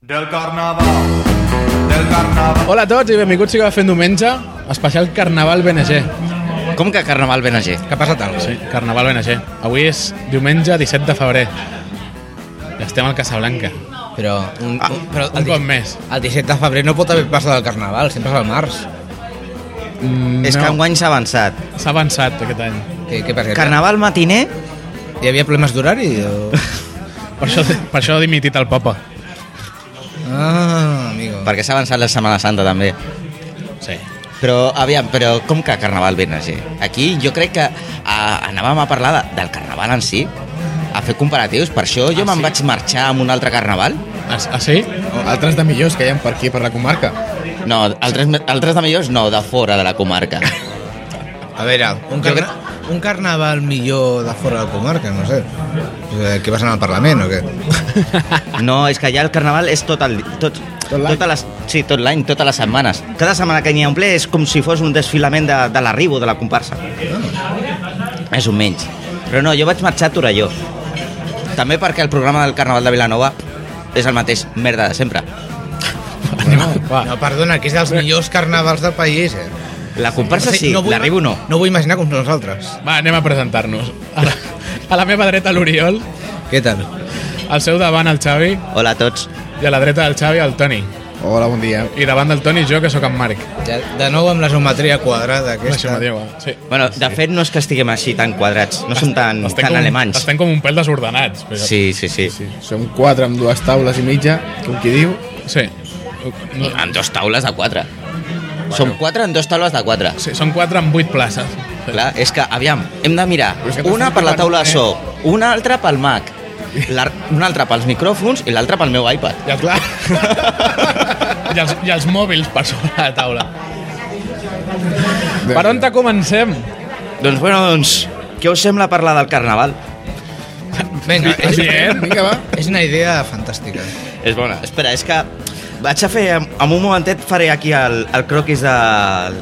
Del carnaval, del carnaval. Hola a tots i benvinguts a Fent Diumenge, especial Carnaval BNG. Com que Carnaval BNG? Que ha passat alguna Sí, Carnaval BNG. Avui és diumenge 17 de febrer. I estem al Casablanca. Però, un, Ah, un, però Un el, cop di- més. el 17 de febrer no pot haver passat el carnaval, sempre és al març. Mm, És que no, enguany s'ha avançat. S'ha avançat aquest any. Què, què passa? Carnaval matiner? Hi havia problemes d'horari? O... Per això, per això ha dimitit el Papa. Ah, amigo. Perquè s'ha avançat la Setmana Santa també. Sí. Però, aviam, però com que Carnaval BNG? Aquí jo crec que a, anàvem a parlar de, del Carnaval en si, a fer comparatius. Per això jo ah, me'n sí? vaig marxar amb un altre Carnaval. Ah, s- ah sí? Altres de millors que hi ha per aquí, per la comarca. No, altres, me- altres de millors no, de fora de la comarca. A veure, un, carna... un carnaval millor de fora de la comarca, no sé. Eh, Què vas anar al Parlament o què? No, és que ja el Carnaval és tot el, di- tot, tot l'any? tota les, sí, tot l'any, totes les setmanes. Cada setmana que n'hi ha un ple és com si fos un desfilament de, de l'arribo, de la comparsa. És un menys. Però no, jo vaig marxar a Torelló. També perquè el programa del Carnaval de Vilanova és el mateix, merda de sempre. va. No, perdona, que és dels millors carnavals del país, eh? La comparsa O sigui, sí, vull- l'arribo no. No vull imaginar com nosaltres. Va, anem a presentar-nos. A, la- a la meva dreta l'Oriol, Què tal? al seu davant el Xavi Hola a tots. i a la dreta del Xavi el Toni. Hola, bon dia. I davant del Toni jo, que sóc en Marc. De, de nou amb la geometria quadrada Deixa'm aquesta. dir -ho. Sí. Bueno, de fet no és que estiguem així tan quadrats, no som tan, Estem tan com, alemanys. Estem com un pèl desordenats. Però... Sí, sí, sí. sí. Som quatre amb dues taules i mitja, com qui diu. Sí. No, En dos taules de quatre. Som quatre en dos taules de quatre. sí són quatre amb vuit places. Clar, és que, aviam, hem de mirar Però és que una t'estan per la taula de preparant, so, una altra pel Mac, la- una altra pels micròfons i l'altra pel meu iPad. I els, clar. I els, I els mòbils per sobre la taula. Per on te comencem? Doncs, bueno, doncs, què us sembla parlar del carnaval? Vinga, és, Bien. Vinga, va. és una idea fantàstica. És bona. Espera, és que vaig a fer, en un momentet faré aquí el, el croquis de,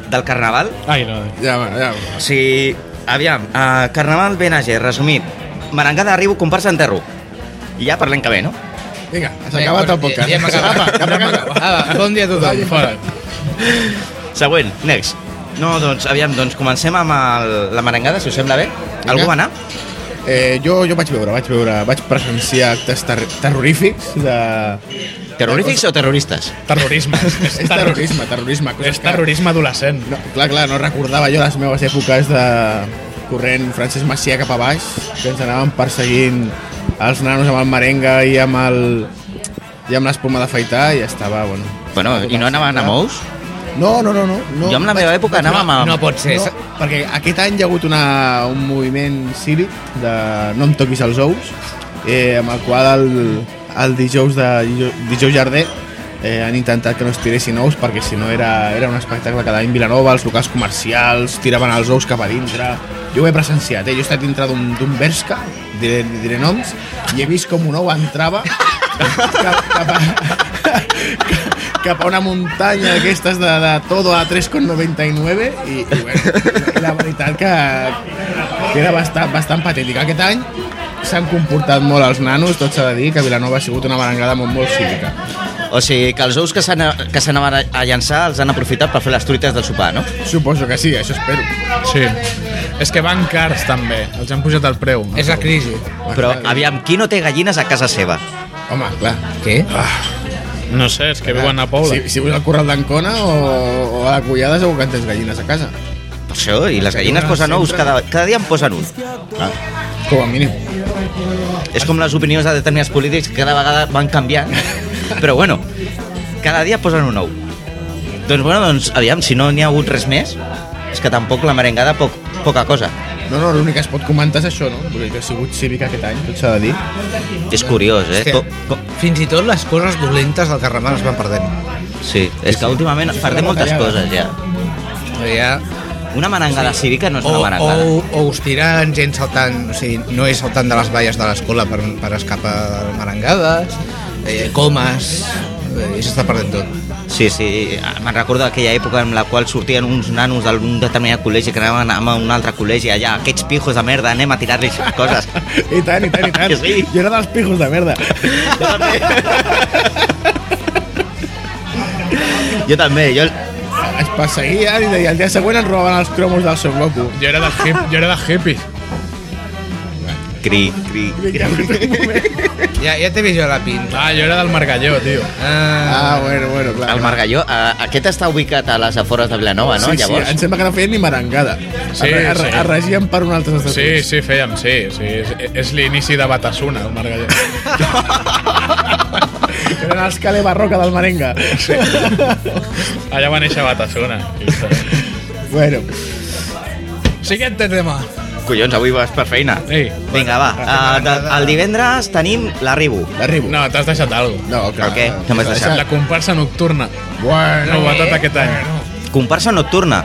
del carnaval. Ai, no. Ja, va, ja. va. O sigui, aviam, uh, carnaval BNG, resumit, merengada arribo, comparsa enterro. I ja parlem que bé, no? Vinga, s'ha acabat el podcast. Ja hem acabat. Cap a casa. Ah, bon dia a tothom. Fora. Següent, next. No, doncs, aviam, doncs comencem amb el, la merengada, si us sembla bé. Algú va anar? Eh, jo, jo vaig veure, vaig veure, vaig presenciar actes ter terrorífics de... Terrorífics o terroristes? Terrorisme. És, És terrorisme, terrorisme. coses És que- terrorisme adolescent. No, clar, clar, no recordava jo les meves èpoques de corrent Francesc Macià cap a baix, que ens anaven perseguint els nanos amb el merenga i amb el i amb l'espuma d'afaitar i estava, bueno... Bueno, i no anaven a Mous? No, no, no, no. no Jo en la meva època anava amb... No pot ser. No, perquè aquest any hi ha hagut una, un moviment cívic de no em toquis els ous, eh, amb el qual el, el dijous de dijous Jardé eh, han intentat que no es tiressin ous perquè si no era, era un espectacle cada any a Vilanova, els locals comercials tiraven els ous cap a dintre jo ho he presenciat, eh? jo he estat dintre d'un d'un Bershka, diré, diré noms i he vist com un ou entrava cap, cap, a, cap a una muntanya d'aquestes de, de todo a 3,99 i, i bueno, la veritat que, que era bastant, bastant patètica. Aquest any s'han comportat molt els nanos, tot s'ha de dir, que Vilanova ha sigut una barangada molt, molt cívica. O sigui, que els ous que s'ana- que s'anaven a- a llançar els han aprofitat per fer les truites del sopar, no? Suposo que sí, això espero. Sí. És que van cars, també. Els han pujat el preu. És la crisi. Però, aviam, qui no té gallines a casa seva? Home, clar. Què? No sé, és que viuen a Poula. Si, si vius al corral d'Ancona o, o a la Collada segur que en tens gallines a casa. Per això, i les gallines posen ous, cada, cada dia en posen un. Clar. Com a mínim. És com les opinions de determinats polítics que cada vegada van canviant, però bueno, cada dia posen un ou. Doncs bueno, doncs, aviam, si no n'hi ha hagut res més, és que tampoc la merengada poc, poca cosa. No, no, l'únic que es pot comentar és això, no? Vull dir que ha sigut cívica aquest any, tot s'ha de dir. És curiós, eh? que- Co, co, Fins i tot les coses dolentes del Carnaval es van perdent. sí, és que últimament perdem moltes coses, ja. Oh, Ja. Una merengada cívica no és O, una merengada. o, o us tirant, gent saltant, o sigui, no és saltant de les valles de l'escola per, per escapar de marangades, eh, comes, eh, i s'està perdent tot. Sí, sí, me'n recordo d'aquella època en la qual sortien uns nanos d'un determinat col·legi que anaven a un altre col·legi allà, aquests pijos de merda, anem a tirar-los coses. I tant, i tant, i tant. Que sí. Jo era dels pijos de merda. Jo també, jo... Ens perseguien i el dia següent ens robaven els cromos del Son Goku. Jo era de, hip, jo era de hippies. Cri, cri, Ja, ja t'he vist jo la pinta. Ah, jo era del Margalló, tio. Ah, Ah, bueno, bueno, clar. El Margalló, eh, aquest està ubicat a les afores de Vilanova, no? sí, Llavors, sí, em sembla que no feien ni merengada. Sí, es, es, sí. es regien per un altre estatut. Sí, sí, fèiem, sí. sí. És, és l'inici de Batasuna, el Margalló. Eren els Cale Barroca del Marenga. Sí. Allà va néixer Batasuna. bueno, Siguiente tema. collons, avui vas per feina. Ei, Vinga, va, eh, de- el divendres tenim l'arribo. l'arribo. no, t'has deixat alguna cosa. no, clar. El què? Què m'has deixat? La comparsa nocturna. Bueno, Novetat aquest any. Comparsa nocturna.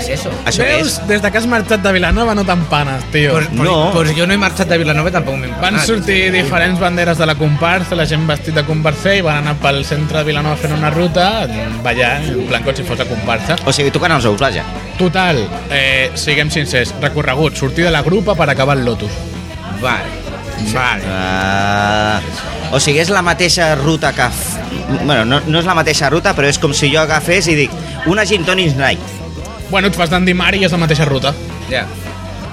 Això què és? Veus? Des de que has marxat de Vilanova no t'empanes, tio. pues, ah, pues, No. pues jo no he marxat de Vilanova i tampoc m'he empanat. Van sortir diferents banderes de la comparsa, la gent vestit de comparser i van anar pel centre de Vilanova fent una ruta, ballant, en plan com si fos la comparsa. O sigui, tocant els ous, vaja. Total, eh, siguem sincers, recorregut, sortir de la grupa per acabar el Lotus. Vale. Vale. Ah, o sigui, és la mateixa ruta que... f- Bueno, no, no és la mateixa ruta, però és com si jo agafés i dic una gin tonic night. Bueno, et fas d'endimar i és la mateixa ruta. Ja.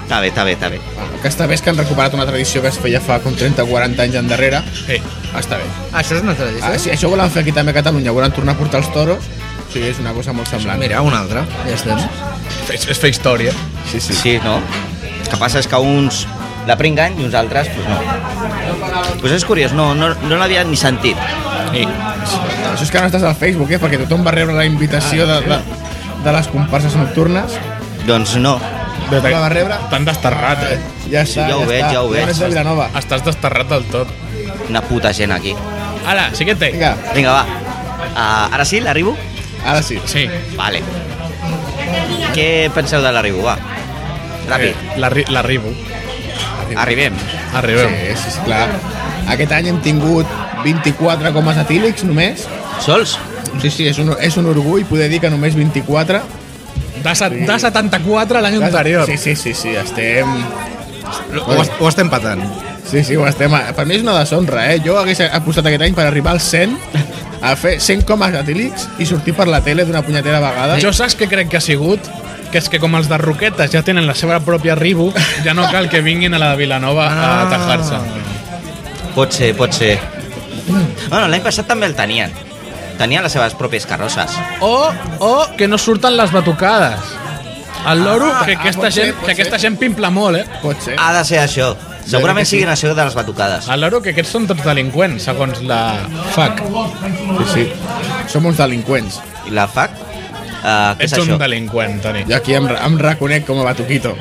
Està bé, està bé, està bé. El que està bé és que han recuperat una tradició que es feia fa com 30 o 40 anys endarrere. Sí. Està bé. Això és una tradició? Ah, sí, això ho volen fer aquí també a Catalunya, volen tornar a portar els toros. Sí, és una cosa molt semblant. Ah, Mira, una altra. Ja estem. És, és fer història. Sí, sí. Sí, no? El que passa és que uns la pringuen i uns altres, pues no. Pues és curiós, no, no, no l'havia ni sentit. Sí. Això és que no estàs al Facebook, eh? Perquè tothom va rebre la invitació de, de, de les comparses nocturnes. Doncs no. De la va rebre? T'han desterrat, eh? Ja està, ja ho veig, està. ja ho veig. Ja ets de Vilanova. Estàs desterrat del tot. Una puta gent aquí. Ala, siguiente. Vinga, Vinga, va. Uh, ara sí, l'arribo? ara sí. Sí. Vale. Què penseu de l'arribo? Va. Ràpid. Eh, l'arri- L'arribo. Arribem. Arribem. Sí, sí, sí, clar. Aquest any hem tingut 24 comes etílics només. Sols? Sí, sí, és un, és un orgull poder dir que només 24. De, se- de 74 l'any anterior. Sí, sí, sí, sí, estem... Ho, es- ho estem patant. Sí, sí, ho estem... a- Per mi és una deshonra, eh? Jo hagués apostat aquest any per arribar al 100, a fer 100 comes etílics i sortir per la tele d'una punyetera vegada. Jo saps que crec que ha sigut? Que és que com els de Roquetes ja tenen la seva pròpia ribu, ja no cal que vinguin a la de Vilanova a Ah. atajar-se. Pot ser, pot ser. Bueno, l'any passat també el tenien. Tenien les seves pròpies carrosses. Eh. O, o que no surten les batucades. El loro, que, ah, aquesta pot ser, gent, pot que ser. aquesta gent pimpla molt, eh? Pot ser. Ha de ser això. Segurament que sí. siguin això de les batucades. El loro, que aquests són tots delinqüents, segons la Ah, FAC. Sí, sí. Som uns delinqüents. I la FAC? Uh, què és Ets un això? delinqüent, Toni. Jo aquí em, em reconec com a batuquito.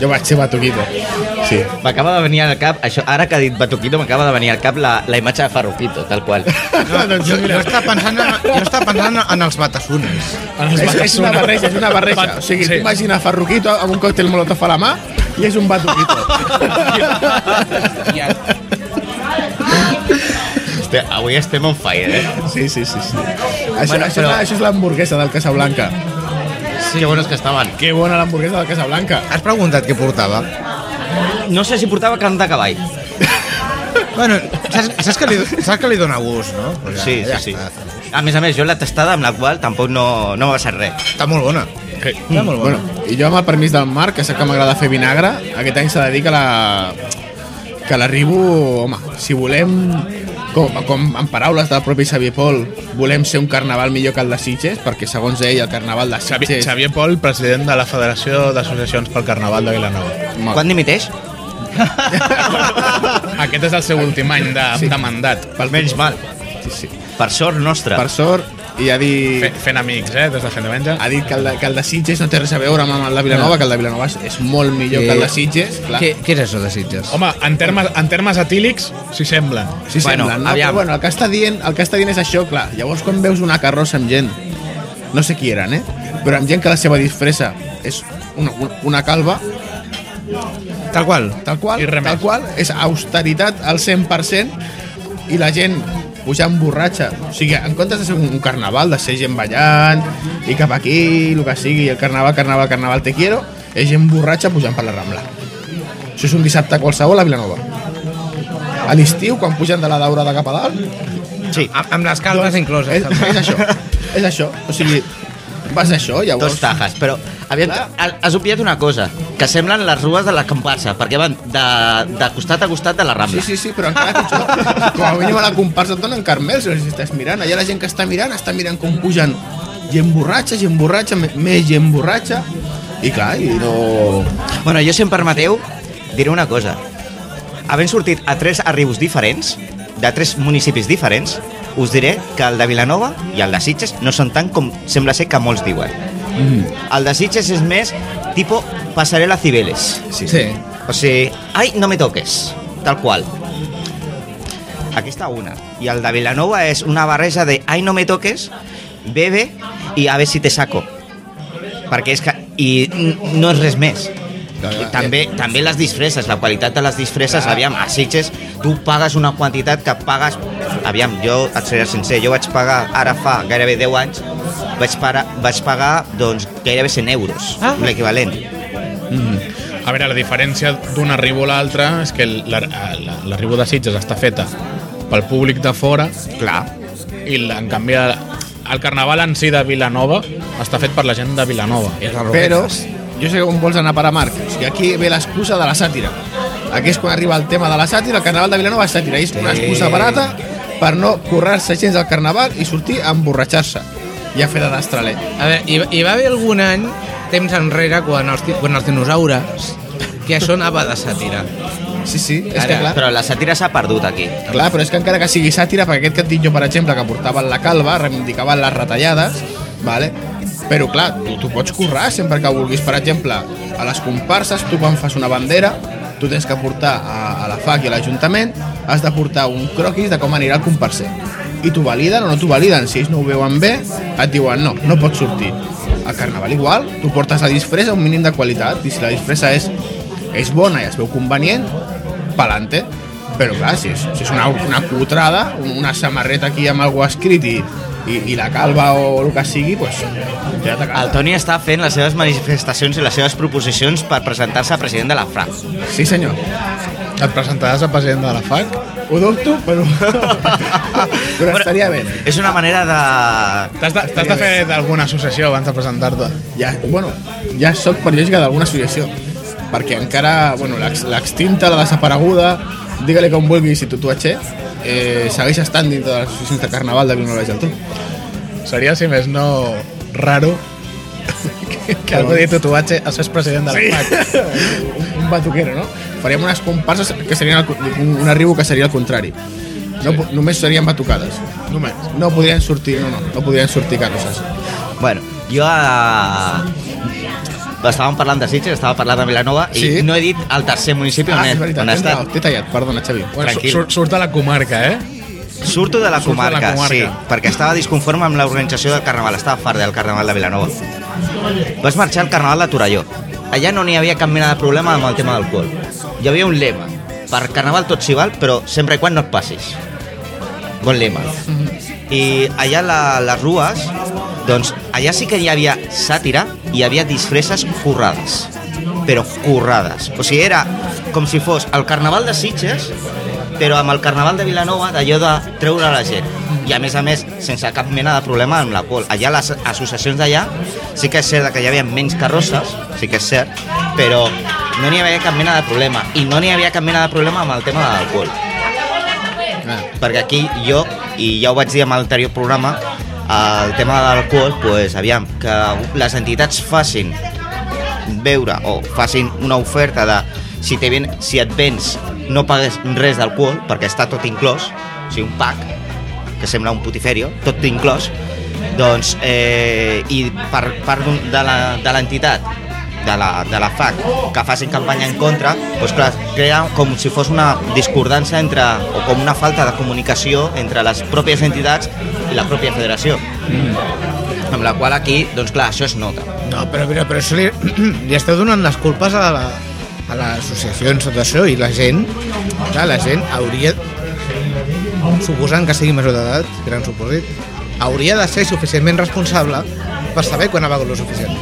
Jo vaig ser batuquito. Sí. M'acaba de venir al cap, això, ara que ha dit Batuquito, m'acaba de venir al cap la, la imatge de Farruquito, tal qual. Ah, No, doncs jo, jo, estava pensant en, jo estava pensant en els batasunes. En els És, és una Batasuna. barreja, és una barreja. Bat- O sigui, sí. sí. t'imagina Farruquito amb un còctel molotov a la mà i és un batuquito. Hòstia, avui estem on fire, eh? Sí, sí, sí. sí. Això, Bueno, bueno, això, però... però- això és l'hamburguesa del Casablanca. Sí. Que bones que estaven. Que bona l'hamburguesa del Casablanca. Has preguntat què portava? No sé si portava carn de cavall. Bueno, saps, saps, que, li, saps que li dona gust, no? Pues Sí, sí, sí. està. A més a més, jo la tastada amb la qual tampoc no, no va ser res. Està molt bona. Sí. Està molt bona. Bueno, i jo amb el permís del Marc, que sap que m'agrada fer vinagre, aquest any s'ha de dir que la que l'arribo, home, si volem com, com en paraules del propi Xavier Pol, volem ser un carnaval millor que el de Sitges, perquè segons ell el carnaval de Xavi, Sitges... Xavier Pol, president de la Federació d'Associacions pel Carnaval de Vilanova. Mal. Quan dimiteix? Aquest és el seu últim any de, Sí. de mandat. Pel menys mal. Sí, sí. Per sort nostra. Per sort, i ha Fe, dit, fent amics, eh? Des de fent diumenge. ha dit que, el de, que el de Sitges no té res a veure amb el de Vilanova, que el de Vilanova és, és molt millor que el de Sitges, clar. Què, què és això de Sitges? Home, en termes, en termes etílics, s'hi semblen. Sí, Bueno, bueno, sembla, no? aviam. Però, bueno, el que, està dient, el que està dient és això, clar. Llavors, quan veus una carrossa amb gent, no sé qui eren, eh? Però amb gent que la seva disfressa és una, una calva, Tal qual. tal qual, I res tal més. qual, és austeritat al 100%, i la gent pujant borratxa. O sigui, en comptes de ser un, un carnaval, de ser gent ballant i cap aquí, el que sigui, el carnaval, carnaval, carnaval, te quiero, és gent borratxa pujant per la Rambla. Això és un dissabte qualsevol a Vilanova. A l'estiu, quan pugen de la daura de cap a dalt, Sí. Amb, amb les calmes incloses. és, també. és això, és això. O sigui, vas això, llavors... Dos tajas, però aviam, Clar. ha- has obviat una cosa, que semblen les rues de la comparsa, perquè van de, de costat a costat de la Sí, Rambla. sí, sí, però encara pitjor. Com a mínim a la comparsa et donen carmels si estàs mirant. Allà la gent que està mirant està mirant com pugen gent borratxa, gent borratxa, me- més gent borratxa. I clar, i no... Bueno, jo, si em permeteu, diré una cosa. Havent sortit a tres arribos diferents, de tres municipis diferents, us diré que el de Vilanova i el de Sitges no són tant com sembla ser que molts diuen. El de Sitges és més tipo passarel·la Cibeles. Sí. O sigui, ai, no me toques, tal qual. Aquí està una. I el de Vilanova és una barreja de ai, no me toques, bebe i a ver si te saco. Perquè és que... I n- no és res més. I també, eh. també les disfresses, la qualitat de les disfresses, aviam, a Sitges tu pagues una quantitat que pagues... Aviam, jo et seré sincer, jo vaig pagar ara fa gairebé 10 anys, vaig, para, vaig pagar doncs, gairebé 100 euros, Ah. l'equivalent. A veure, la diferència d'un arribo a l'altre és que el- la- la- l'arribo de Sitges està feta pel públic de fora Clar, i la- en canvi el el carnaval en si de Vilanova està fet per la gent de Vilanova. És la roqueta. Però jo sé on vols anar per a Marc. O sigui, aquí ve l'excusa de la sàtira. Aquí és quan arriba el tema de la sàtira. El Carnaval de Vilanova és sàtira. És una excusa barata per no currar-se gens al Carnaval i sortir a emborratxar-se i a fer de destraler. A veure, hi, va- hi va haver algun any, temps enrere, quan els, di- quan els dinosaures, que això anava de sàtira. Sí, sí, és Ara, que clar... però la sàtira s'ha perdut aquí. Clar, però és que encara que sigui sàtira, perquè aquest que et dic jo, per exemple, que portaven la calva, reivindicaven les retallades, vale? però clar, tu, tu pots currar sempre que vulguis. Per exemple, a les comparses, tu quan fas una bandera, tu tens que portar a, a la FAC i a l'Ajuntament, has de portar un croquis de com anirà el comparser. I t'ho validen o no t'ho validen. Si ells no ho veuen bé, et diuen no, no pots sortir. Al carnaval igual, tu portes la disfressa un mínim de qualitat, i si la disfressa és, és bona i es veu convenient, pa'lante. Però clar, si és, si és una, una cutrada, una samarreta aquí amb algú escrit i, i, i la calva o el que sigui, pues, ja t'ha El Toni està fent les seves manifestacions i les seves proposicions per presentar-se a president de la FRA. Sí, senyor. Et presentaràs a president de la FAC? Ho dubto, però, però estaria bé. eh? És una manera de... T'has de, t'has de fer d'alguna associació abans de presentar-te. Ja, bueno, ja soc periòdica d'alguna associació, perquè encara, bueno, l'ex- l'extinta, la desapareguda, digue-li com vulguis i tatuatge, eh, segueix estant dintre de les associacions de carnaval de Vilanova i la Geltrú. Seria, si més no, raro que, que algú digui tatuatge a ser president de la FAC. un batuquero, no? Faríem unes comparses que serien el, co- un, un arribo que seria el contrari. No, po- Només serien batucades. Només. No podrien sortir, no, no, no podrien sortir carrosses. Bueno, jo a... Estàvem parlant de Sitges, estava parlant de Vilanova Sí. Ah, i no he dit el tercer municipi on, he, on he t'he tallat, estat. t'he tallat, perdona, Xavi. Bueno, Tranquil. sur, surt de la comarca, eh? Surto de la Surto de la comarca, comarca. sí, perquè estava disconforme amb l'organització del Carnaval, estava fart del Carnaval de Vilanova. Vas marxar al Carnaval de Torelló. Allà no n'hi havia cap mena de problema amb el tema del col. Hi havia un lema. Per Carnaval tot s'hi val, però sempre i quan no et passis. Bon lema. I allà a la, les rues, doncs allà sí que hi havia sàtira i hi havia disfresses currades. Però currades. O sigui, era com si fos el Carnaval de Sitges, però amb el Carnaval de Vilanova d'allò de treure la gent. I a més a més, sense cap mena de problema amb la qual. Allà les associacions d'allà sí que és cert que hi havia menys carrosses, sí que és cert, però no n'hi havia cap mena de problema. I no n'hi havia cap mena de problema amb el tema de l'alcohol perquè aquí jo, i ja ho vaig dir en l'anterior programa, el tema de l'alcohol, pues, aviam, que les entitats facin veure o facin una oferta de si, te ven, si et vens no pagues res d'alcohol, perquè està tot inclòs, o sigui, un pack, que sembla un putiferio, tot inclòs, doncs, eh, i per part d'un- de la- de l'entitat, de la, de la FAC, que facin campanya en contra, doncs clar, crea com si fos una discordància entre, o com una falta de comunicació entre les pròpies entitats i la pròpia federació. Amb la qual aquí, doncs clar, això es nota. No, però, però, però això li, li esteu donant les culpes a la a les associacions, tot això, i la gent, clar, la gent hauria suposant que sigui major d'edat, gran supòsit, hauria de ser suficientment responsable per saber quan ha begut lo suficient.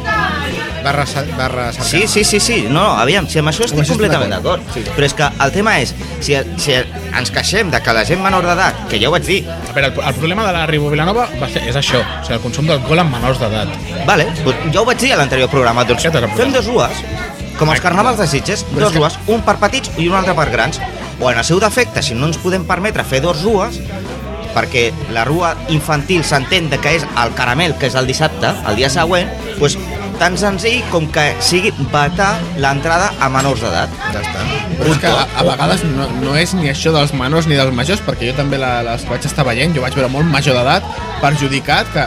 Barra, sa- barra cercar. Sí, sí, sí, sí. No, aviam, si amb això estic això estem completament d'acord. d'acord. Però és que el tema és, si, si ens queixem de que la gent menor d'edat, que ja ho vaig dir, A veure, el, el problema de la Ribo Vilanova va ser, és això, o sigui, el consum d'alcohol en menors d'edat. vale, doncs ja ho vaig dir a l'anterior programa, doncs Aquest és el fem problema. dos dues, com els carnavals de Sitges, dos dues, un per petits i un altre per grans. O en el seu defecte, si no ens podem permetre fer dos dues, perquè la rua infantil s'entén de que és el caramel, que és el dissabte, el dia següent, doncs tan senzill com que sigui vetar l'entrada a menors d'edat. Ja està. Però és que a, a vegades no, no és ni això dels menors ni dels majors, perquè jo també la, les que vaig estar veient, jo vaig veure molt major d'edat, perjudicat, que,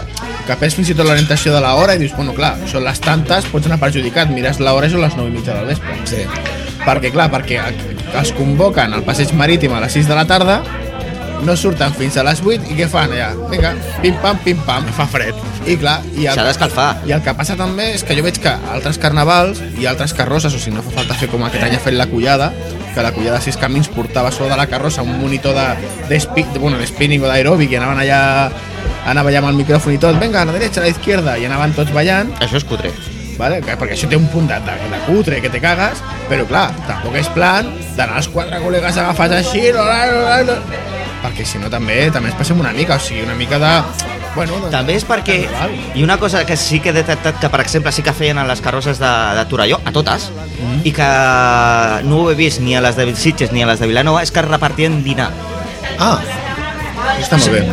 que perds fins i tot l'orientació de l'hora i dius, bueno, clar, són les tantes, pots anar perjudicat, mires l'hora i són les 9 i mitja del vespre. Sí. Perquè, clar, perquè es convoquen al passeig marítim a les 6 de la tarda, no surten fins a les 8 i què fan allà? Vinga, pim-pam, pim-pam. Fa fred. I clar, i S'ha el, d'escalfar. i el que passa també és que jo veig que altres carnavals i altres carrosses, o si no fa falta fer com aquest any ha fet la collada, que la collada a sis camins portava sobre de la carrossa un monitor de, de, spi, de, bueno, de spinning o d'aeròbic i anaven allà anava allà amb el micròfon i tot, venga, a la dreta, a la izquierda, i anaven tots ballant, Això és cutre. vale? Que- perquè això té un punt de, de, de cutre que te cagues, però clar, tampoc és plan d'anar els quatre col·legues agafats així, no, no, no, no. perquè si no també també ens passem una mica, o sigui, una mica de... Bueno, doncs de, També és perquè... Carnaval. I una cosa que sí que he detectat, que per exemple sí que feien a les carrosses de, de Torelló, a totes, i que no ho he vist ni a les de Sitges ni a les de Vilanova, és que repartien dinar. Ah, Està molt bé.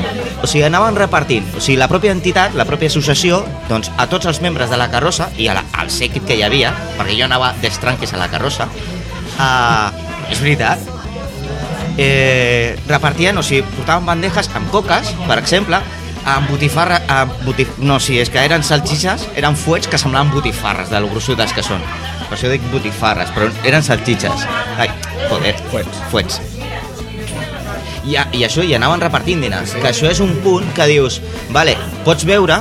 O sigui, anaven repartint. O sigui, la pròpia entitat, la pròpia associació, doncs a tots els membres de la carrossa i a la, al sèquit que hi havia, perquè jo anava d'estranques a la carrossa, uh, és veritat, eh, repartien, o sigui, portaven bandejas amb coques, per exemple, amb botifarra... Amb botif... No, o sigui, és que eren salxitxes, eren fuets que semblaven botifarres, de lo grossudes que són. Per això dic botifarres, però eren salxitxes. Ai, joder. Fuets. Fuets. I, a- i això, i anaven repartint dinars. Que això és un punt que dius, vale, pots veure,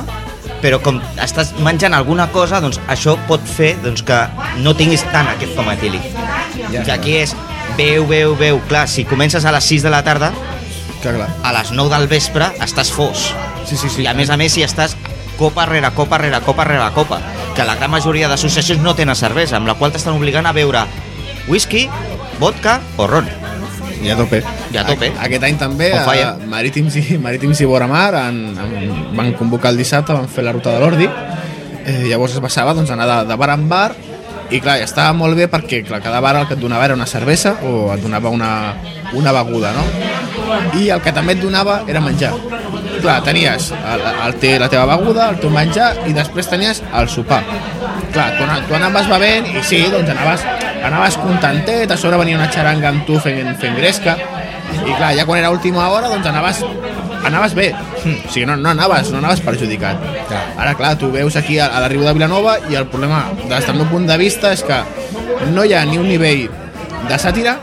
però com estàs menjant alguna cosa, doncs això pot fer doncs, que no tinguis tant aquest cometílic. Ja Ja està. que aquí és veu, veu, veu. Clar, si comences a les 6 de la tarda, Que clar. a les 9 del vespre estàs fos. Sí, sí, sí. I a més a més si estàs copa rere copa rere copa rere copa, que la gran majoria d'associacions no tenen cervesa, amb la qual t'estan obligant a beure whisky, vodka o ron. I a tope. I a tope. A, aquest any també, On fire. a Marítims i, Marítims i Boramar en, en, van convocar el dissabte, van fer la ruta de l'Ordi. Eh, llavors es passava doncs, anar de, de bar en bar i clar, ja estava molt bé perquè clar, cada bar el que et donava era una cervesa o et donava una, una beguda, no? I el que també et donava era menjar. Clar, tenies el, el te, la teva beguda, el teu menjar i després tenies el sopar. Clar, tu, ana- tu anaves bevent i sí, doncs anaves, anaves contentet, a sobre venia una xaranga amb tu fent, fent gresca i clar, ja quan era última hora doncs anaves, anaves bé Hm, o sigui, no, no anaves, no anaves perjudicat Clar. ara clar, tu veus aquí a, a l'arribo de Vilanova i el problema des del meu punt de vista és que no hi ha ni un nivell de sàtira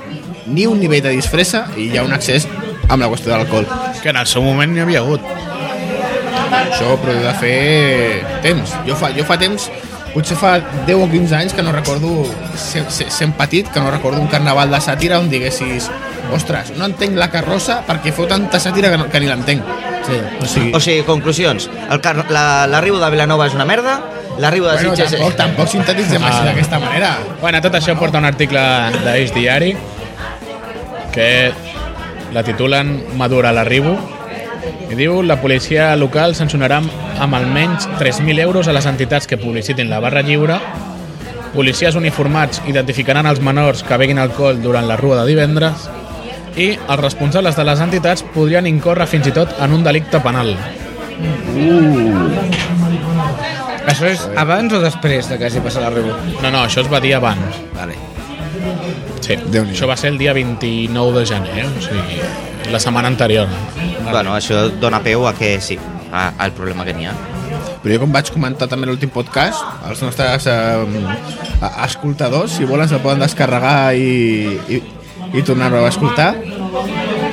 ni un nivell de disfressa i hi ha un accés amb la qüestió de l'alcohol Que en el seu moment n'hi havia hagut. això però he de fer temps jo fa, jo fa temps Potser fa 10 o 15 anys que no recordo, sent, sent- sent petit, que no recordo un carnaval de sàtira on diguessis ostres, no entenc la carrossa perquè feu tanta sàtira que, no, que ni l'entenc. Sí. O sigui, O sigui, conclusions. El car la, la riu de Vilanova és una merda, la riu de bueno, Sitges tampoc, és... tampoc sintetitzem això Ah. d'aquesta manera. Bueno, tot això porta un article d'Eix Diari que la titulen Madura la Ribu i diu la policia local sancionarà amb- amb almenys 3.000 euros a les entitats que publicitin la barra lliure policies uniformats identificaran els menors que beguin alcohol durant la rua de divendres i els responsables de les entitats podrien incórrer fins i tot en un delicte penal. això és abans o després de que hagi passat la Ribó? No, no, això es va dir abans. Vale. Sí, Déu-n'hi-do. això va ser el dia 29 de gener, eh? o sigui, la setmana anterior. Bueno, això dona peu a que sí, a- al problema que n'hi ha. Però jo, com vaig comentar també en l'últim podcast, els nostres eh, a- escoltadors, si volen, se'l poden descarregar i, i, i tornar-ho a escoltar.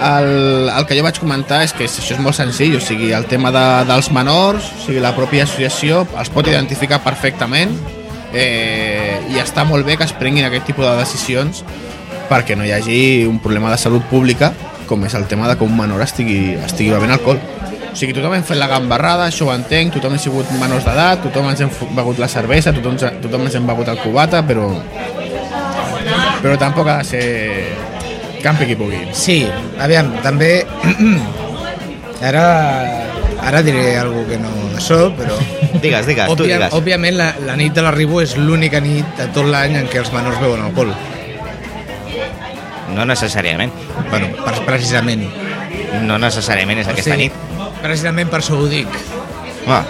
El, el que jo vaig comentar és que és- això és molt senzill, o sigui, el tema de, dels menors, o sigui, la pròpia associació els pot identificar perfectament eh, i està molt bé que es prenguin aquest tipus de decisions perquè no hi hagi un problema de salut pública com és el tema de que un menor estigui, estigui bevent alcohol. O sigui, tothom hem fet la gambarrada, això ho entenc, tothom hem sigut menors d'edat, tothom ens hem fu- begut la cervesa, tothom, ens- tothom ens hem begut el cubata, però... Però tampoc ha de ser campi qui pugui. Sí, aviam, també... ara, ara diré alguna que no això, però... Digues, digues, tu Òbvia, digues. òbviament, la, la nit de la Ribu és l'única nit de tot l'any en què els menors beuen alcohol. No necessàriament. Bueno, per, precisament. No necessàriament és aquesta nit. Precisament per això ho dic. Ah,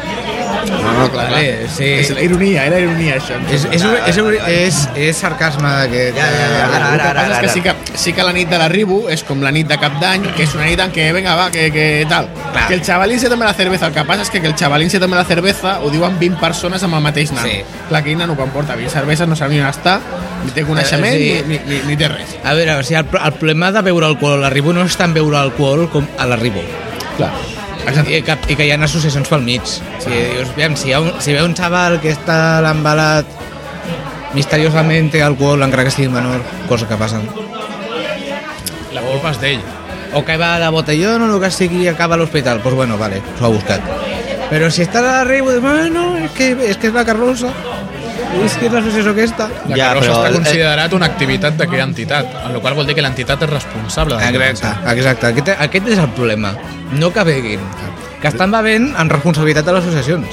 No, no, clar, clar. Vale, sí. És la ironia, era ironia, això. És, és, és, és, és, és sarcasme d'aquest... Ja, ja, ja, ara, El ara, que ara, passa és ara. que sí, que sí que la nit de l'arribo és com la nit de cap d'any, que és una nit en què, venga, va, que, que tal. Clar. Que el xavalín se toma la cervesa. El que passa és que, que el xavalín se toma la cervesa ho diuen 20 persones amb el mateix nano. Sí. Clar, aquell nano quan porta 20 cerveses no sap ni on està, ni té coneixement, Eh, sí. ni, ni, ni, ni té res. A veure, o sigui, el, pro- el problema de beure alcohol a la Ribu no és tant beure alcohol com a la Ribu. Clar. I, Exacte. que, I que hi ha associacions pel mig. O sigui, Ah. dius, aviam, si, hi ha un, si ve un xaval que està l'embalat misteriosament té alcohol encara que sigui menor, cosa que passa. La culpa és d'ell. O que va de botellón o el que sigui i acaba a l'hospital. Doncs pues bueno, vale, s'ho ha buscat. Però si està a la Ribu, dius, bueno, és que, és que és la carrossa. És que és l'associació aquesta. La Ja, ja, carrossa però està el- considerat una activitat d'aquella entitat, el qual vol dir que l'entitat és responsable. de la Exacte, exacte. Aquest, aquest és el problema. No que beguin. Que estan bevent en responsabilitat de les associacions.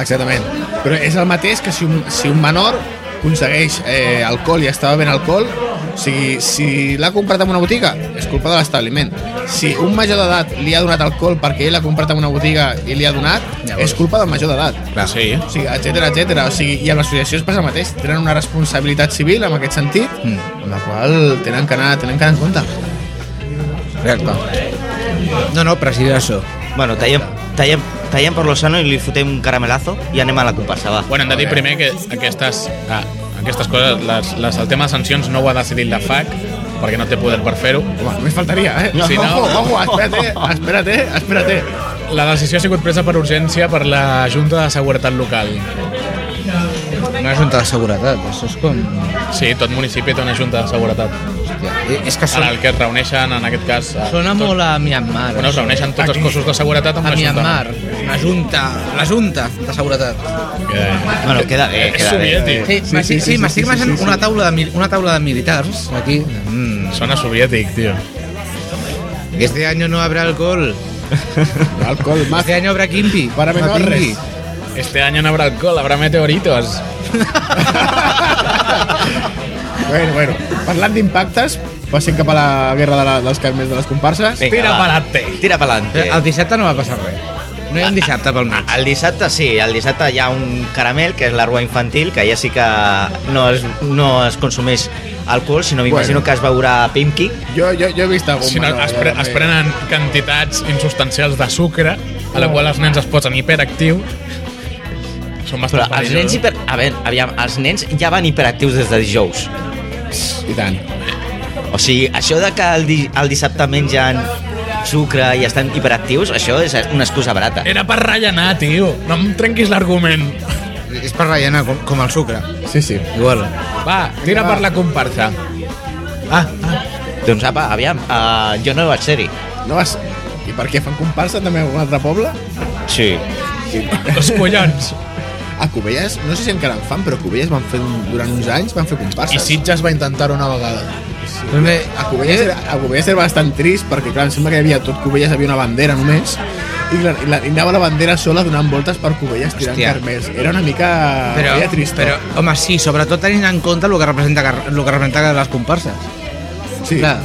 Exactament. Però és el mateix que si un, si un menor aconsegueix eh, alcohol i està bevent alcohol, o sigui, si l'ha comprat en una botiga, és culpa de l'establiment. Si un major d'edat li ha donat alcohol perquè ell l'ha comprat en una botiga i li ha donat, Llavors. és culpa del major d'edat. Clar, sí. O sigui, etcètera, etcètera. O sigui, I amb l'associació es passa el mateix. Tenen una responsabilitat civil en aquest sentit, mm. amb la qual tenen que anar, tenen que anar en compte. Exacte. No, no, però sí, això. Bueno, tallem, tallem, tallem per lo sano i li fotem un caramelazo i anem a la comparsa, va. Bueno, hem de dir primer que aquestes, ah, aquestes coses, les, les, el tema de sancions no ho ha decidit la FAC, perquè no té poder per fer-ho. Home, només faltaria, eh? Si no- Ojo, ojo, espérate, espérate, espérate. La decisió ha sigut presa per urgència per la Junta de Seguretat Local. Una junta de seguretat, això és com... Sí, tot municipi té una Junta de Seguretat, Hòstia, eh, és que en sona, el que es reuneixen, en aquest cas... a- sona tot- molt a Myanmar. Bueno, es reuneixen tots els cossos de seguretat amb a una junta. Myanmar, la junta, la junta de seguretat. Que- Bueno, queda bé, És queda bé. soviètic. Sí, sí, sí, sí, sí m'estic imaginant sí, sí, sí. una, taula de, mil- una taula de militars aquí. Mm. Sona soviètic, tio. Este año no habrá alcohol. Alcohol, más. Este año habrá kimpi. Para no menores. pingui. Este año no habrá alcohol, habrá meteoritos. Bueno, bueno, parlant d'impactes, passem cap a la guerra de la, dels carmels de les comparses. Vinga, Tira va. pa'lante. Tira pa'lante. El dissabte no va passar res. No hi ha un dissabte pel mig. El dissabte sí, el dissabte hi ha un caramel, que és l'arrua infantil, que ja sí que no es, no es consumeix alcohol, sinó m'imagino Bueno. que es beurà Pimki. Jo, jo, jo he vist algun Si no, es, pre es prenen quantitats insustancials de sucre, a la qual els nens es posen hiperactius. Són Però bastant els nens, perillosos. hiper... a veure, aviam, els nens ja van hiperactius des de dijous. I tant. O sigui, això de que el, di el dissabte mengen sucre i estan hiperactius, això és una excusa barata. Era per rellenar, tio. No em trenquis l'argument. És per rellenar, com, com el sucre. Sí, sí. Igual. Va, tira va. per la comparsa. Ah, ah. Doncs apa, aviam, uh, jo no vaig ser-hi. No vas... I per què fan comparsa també a un altre poble? Sí. Los collons. A Cubelles, no sé si encara en fan, però a Cubelles van fer, un- durant uns anys van fer comparses. I Sitges va intentar una vegada. Doncs bé, A Cubelles, era, a Cubelles era bastant trist perquè, clar, em sembla que hi havia tot Cubelles, havia una bandera només, i, clar, i, la, i anava la bandera sola donant voltes per Cubelles tirant Hòstia. carmels. Era una mica... però, era trist. eh? però, home, sí, sobretot tenint en compte el que representa, car- el que representa les comparses. sí. Clar.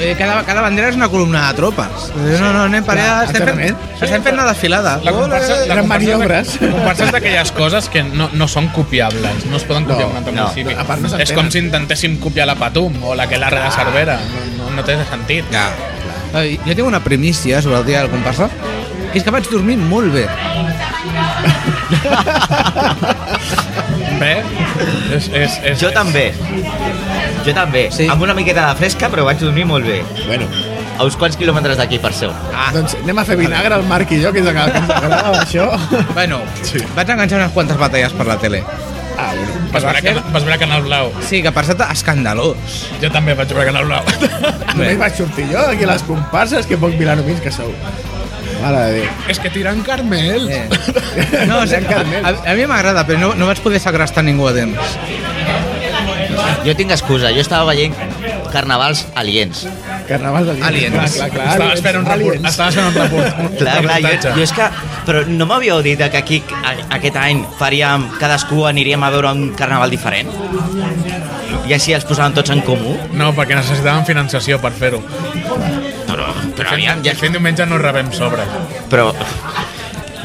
Eh, Cada, cada bandera és una columna de tropes. Eh, No, no, anem per allà, Clar, estem fent, exactament. estem fent una desfilada. La comparsa, la Eren comparsa, maniobres. la comparsa és d'aquelles coses que no, no són copiables, no es poden copiar No, en un altre no. municipi. A part, no és s'entenen. com si intentéssim copiar la Patum o la que l'Arre de Cervera. No, no, no té sentit. Ja. Eh, Jo tinc una primícia sobre el dia de la comparsa, que és que vaig dormir molt bé. Bé, és, és, és, Jo també. Jo també. Sí. Sí. Amb una miqueta de fresca, però vaig dormir molt bé. Bueno, A uns quants quilòmetres d'aquí, per seu. Ah, doncs anem a fer vinagre al Marc i jo, que és el que ens agradava, això. bueno, Sí. vaig enganxar unes quantes batalles per la tele. Ah, bueno. Vas veure, que, vas veure Canal Blau. Sí, que per cert, escandalós. Jo també vaig veure Canal Blau. Només vaig sortir jo aquí a les comparses, que poc vilanovins que sou. Mare de Déu. És que tiren Carmel. Eh. No, o sigui, a, a, a mi m'agrada, però no, no vaig poder segrestar ningú a temps. Jo tinc excusa, jo estava veient carnavals aliens. Carnaval d'aliens. Aliens. Clar, clar, clar. Estaves fent un report. aliens. Estaves fent un report. Clar, clar, jo, reportatge. jo és que... Però no m'havíeu dit que aquí, a, aquest any, faríem, cadascú aniríem a veure un carnaval diferent? I així els posàvem tots en comú? No, perquè necessitàvem finançació per fer-ho. Però, però aviam, I ja, al fin diumenge no rebem sobre. però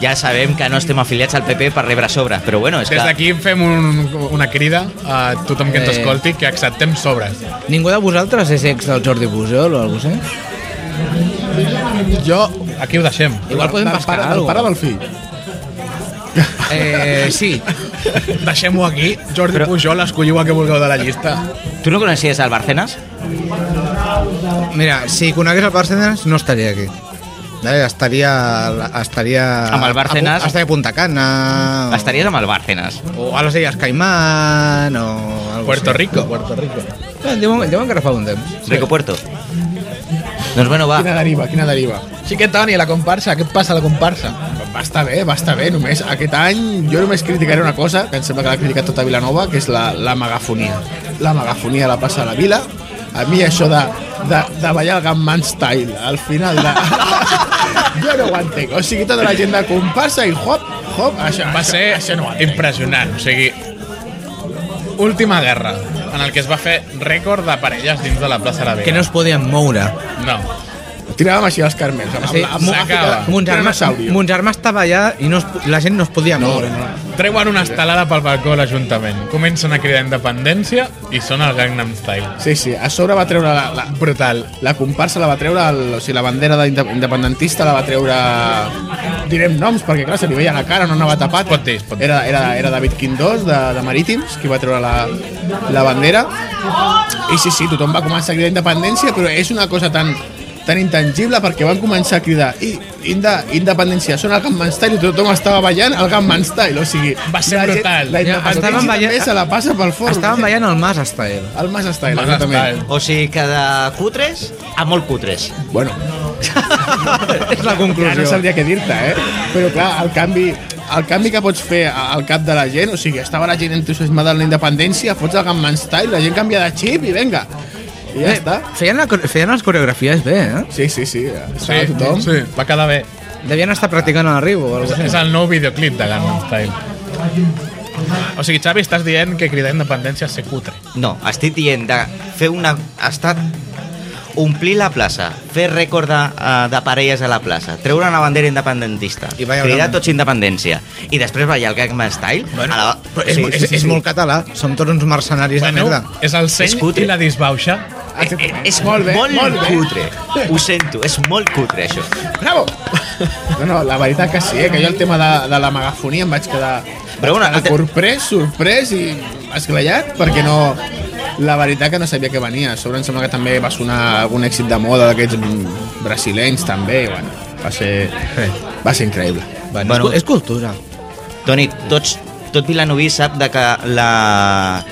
ja sabem que no estem afiliats al PP per rebre sobres, però bueno, és Des que... d'aquí fem un, una crida a tothom que ens Eh. escolti que acceptem sobres. Ningú de vosaltres és ex del Jordi Pujol o alguna cosa, eh? Jo, aquí ho deixem. Igual podem Del pescar pare- del alguna pare cosa. del fill. Eh, sí. Deixem-ho aquí. Jordi Però... Pujol, escolliu a què vulgueu de la llista. Tu no coneixies el Barcenas? Mira, si conegués el Bárcenas no estaria aquí. Eh, estaria, estaria... Amb el Bárcenas? a- Estaria a Punta Cana... o- Estaries amb el Barcenas. O a les Illes Caimán, o... Algo Puerto així. Rico. Puerto Rico. Eh, Diuen, diuen que ara fa un temps. Rico Puerto. Doncs bueno, va. Quina deriva, quina deriva. Sí que, Toni, la comparsa, què et passa a la comparsa? Va estar bé, va estar bé, només aquest any jo només criticaré una cosa, que em sembla que l'ha criticat tota Vilanova, que és la, la megafonia. La megafonia a la plaça de la Vila. A mi això de, de, de ballar el Gunman Style al final de... jo no ho entenc. O sigui, tota la gent de comparsa i hop, hop, això, Va això, ser això no ho entenc. impressionant. O sigui, última guerra, en el que es va fer rècord de parelles dins de la plaça de la Vega. Que no es podien moure. No. Tiràvem així els carmels, amb, amb, Sí, amb, amb, s'acaba. amb, amb un Montsarmà, dinosaurio. Montsarmà estava allà i no es, la gent no es podia moure. Treuen una estelada pel balcó de l'Ajuntament. Comencen a cridar independència i són el Gangnam Style. Sí, sí, a sobre va treure la, la, Brutal. La comparsa la va treure, el, o sigui, la bandera d'independentista la va treure... Direm noms, perquè clar, se li veia la cara, no anava tapat. Es pot dir, es pot dir. Era, era, era David Quindós, de, de Marítims, qui va treure la, la bandera. I sí, sí, tothom va començar a cridar independència, però és una cosa tan, tan intangible perquè van començar a cridar i, inde, independència, són el Gunman Style i tothom estava ballant el Gunman Style, o sigui... Va ser la gent- brutal. La Ja, independència estaven ballant- també se la passa pel forn. Estaven ballant el Mas Style. El Mas Style, Mas exactament. Style. O sigui que de cutres a molt cutres. Bueno, És la Ja no conclusió. sabria què dir-te, eh? Però clar, el canvi, el canvi que pots fer a- al cap de la gent, o sigui, estava la gent entusiasmada en la independència, fots el Gunman Style, la gent canvia de xip i venga. I ja està. Feien, la, core- feien les coreografies bé, eh? Sí, sí, sí, estava sí, tothom. Sí. sí, va quedar bé. Devien estar practicant el riu o alguna És cosa el nou videoclip de Gangnam Style. O sigui, Xavi, estàs dient que cridar independència és ser cutre. No, estic dient de fer una... Estat omplir la plaça, fer rècord de, eh, de parelles a la plaça, treure una bandera independentista, I I ballar cridar una- tots independència, i després ballar el Gangnam Style... Bueno, a la... però és, Sí, és, sí, és, sí. molt català, som tots uns mercenaris de merda. és el seny És cutre. i la disbauxa. Eh, eh, és Molt bé, molt, molt bé. cutre. Ho sento, és molt cutre, això. Bravo! No, no, la veritat que sí, eh? que jo el tema de, de la megafonia em vaig quedar Però una- bastant sorprès, sorprès i esglaiat, perquè no... La veritat que no sabia què venia. A sobre em sembla que també va sonar algun èxit de moda d'aquests mm, brasilenys, també. i Bueno, va ser, va ser increïble. Bueno, Bueno. bueno, és, cu- és cultura. Toni, tots, tot Vilanoví sap de que la...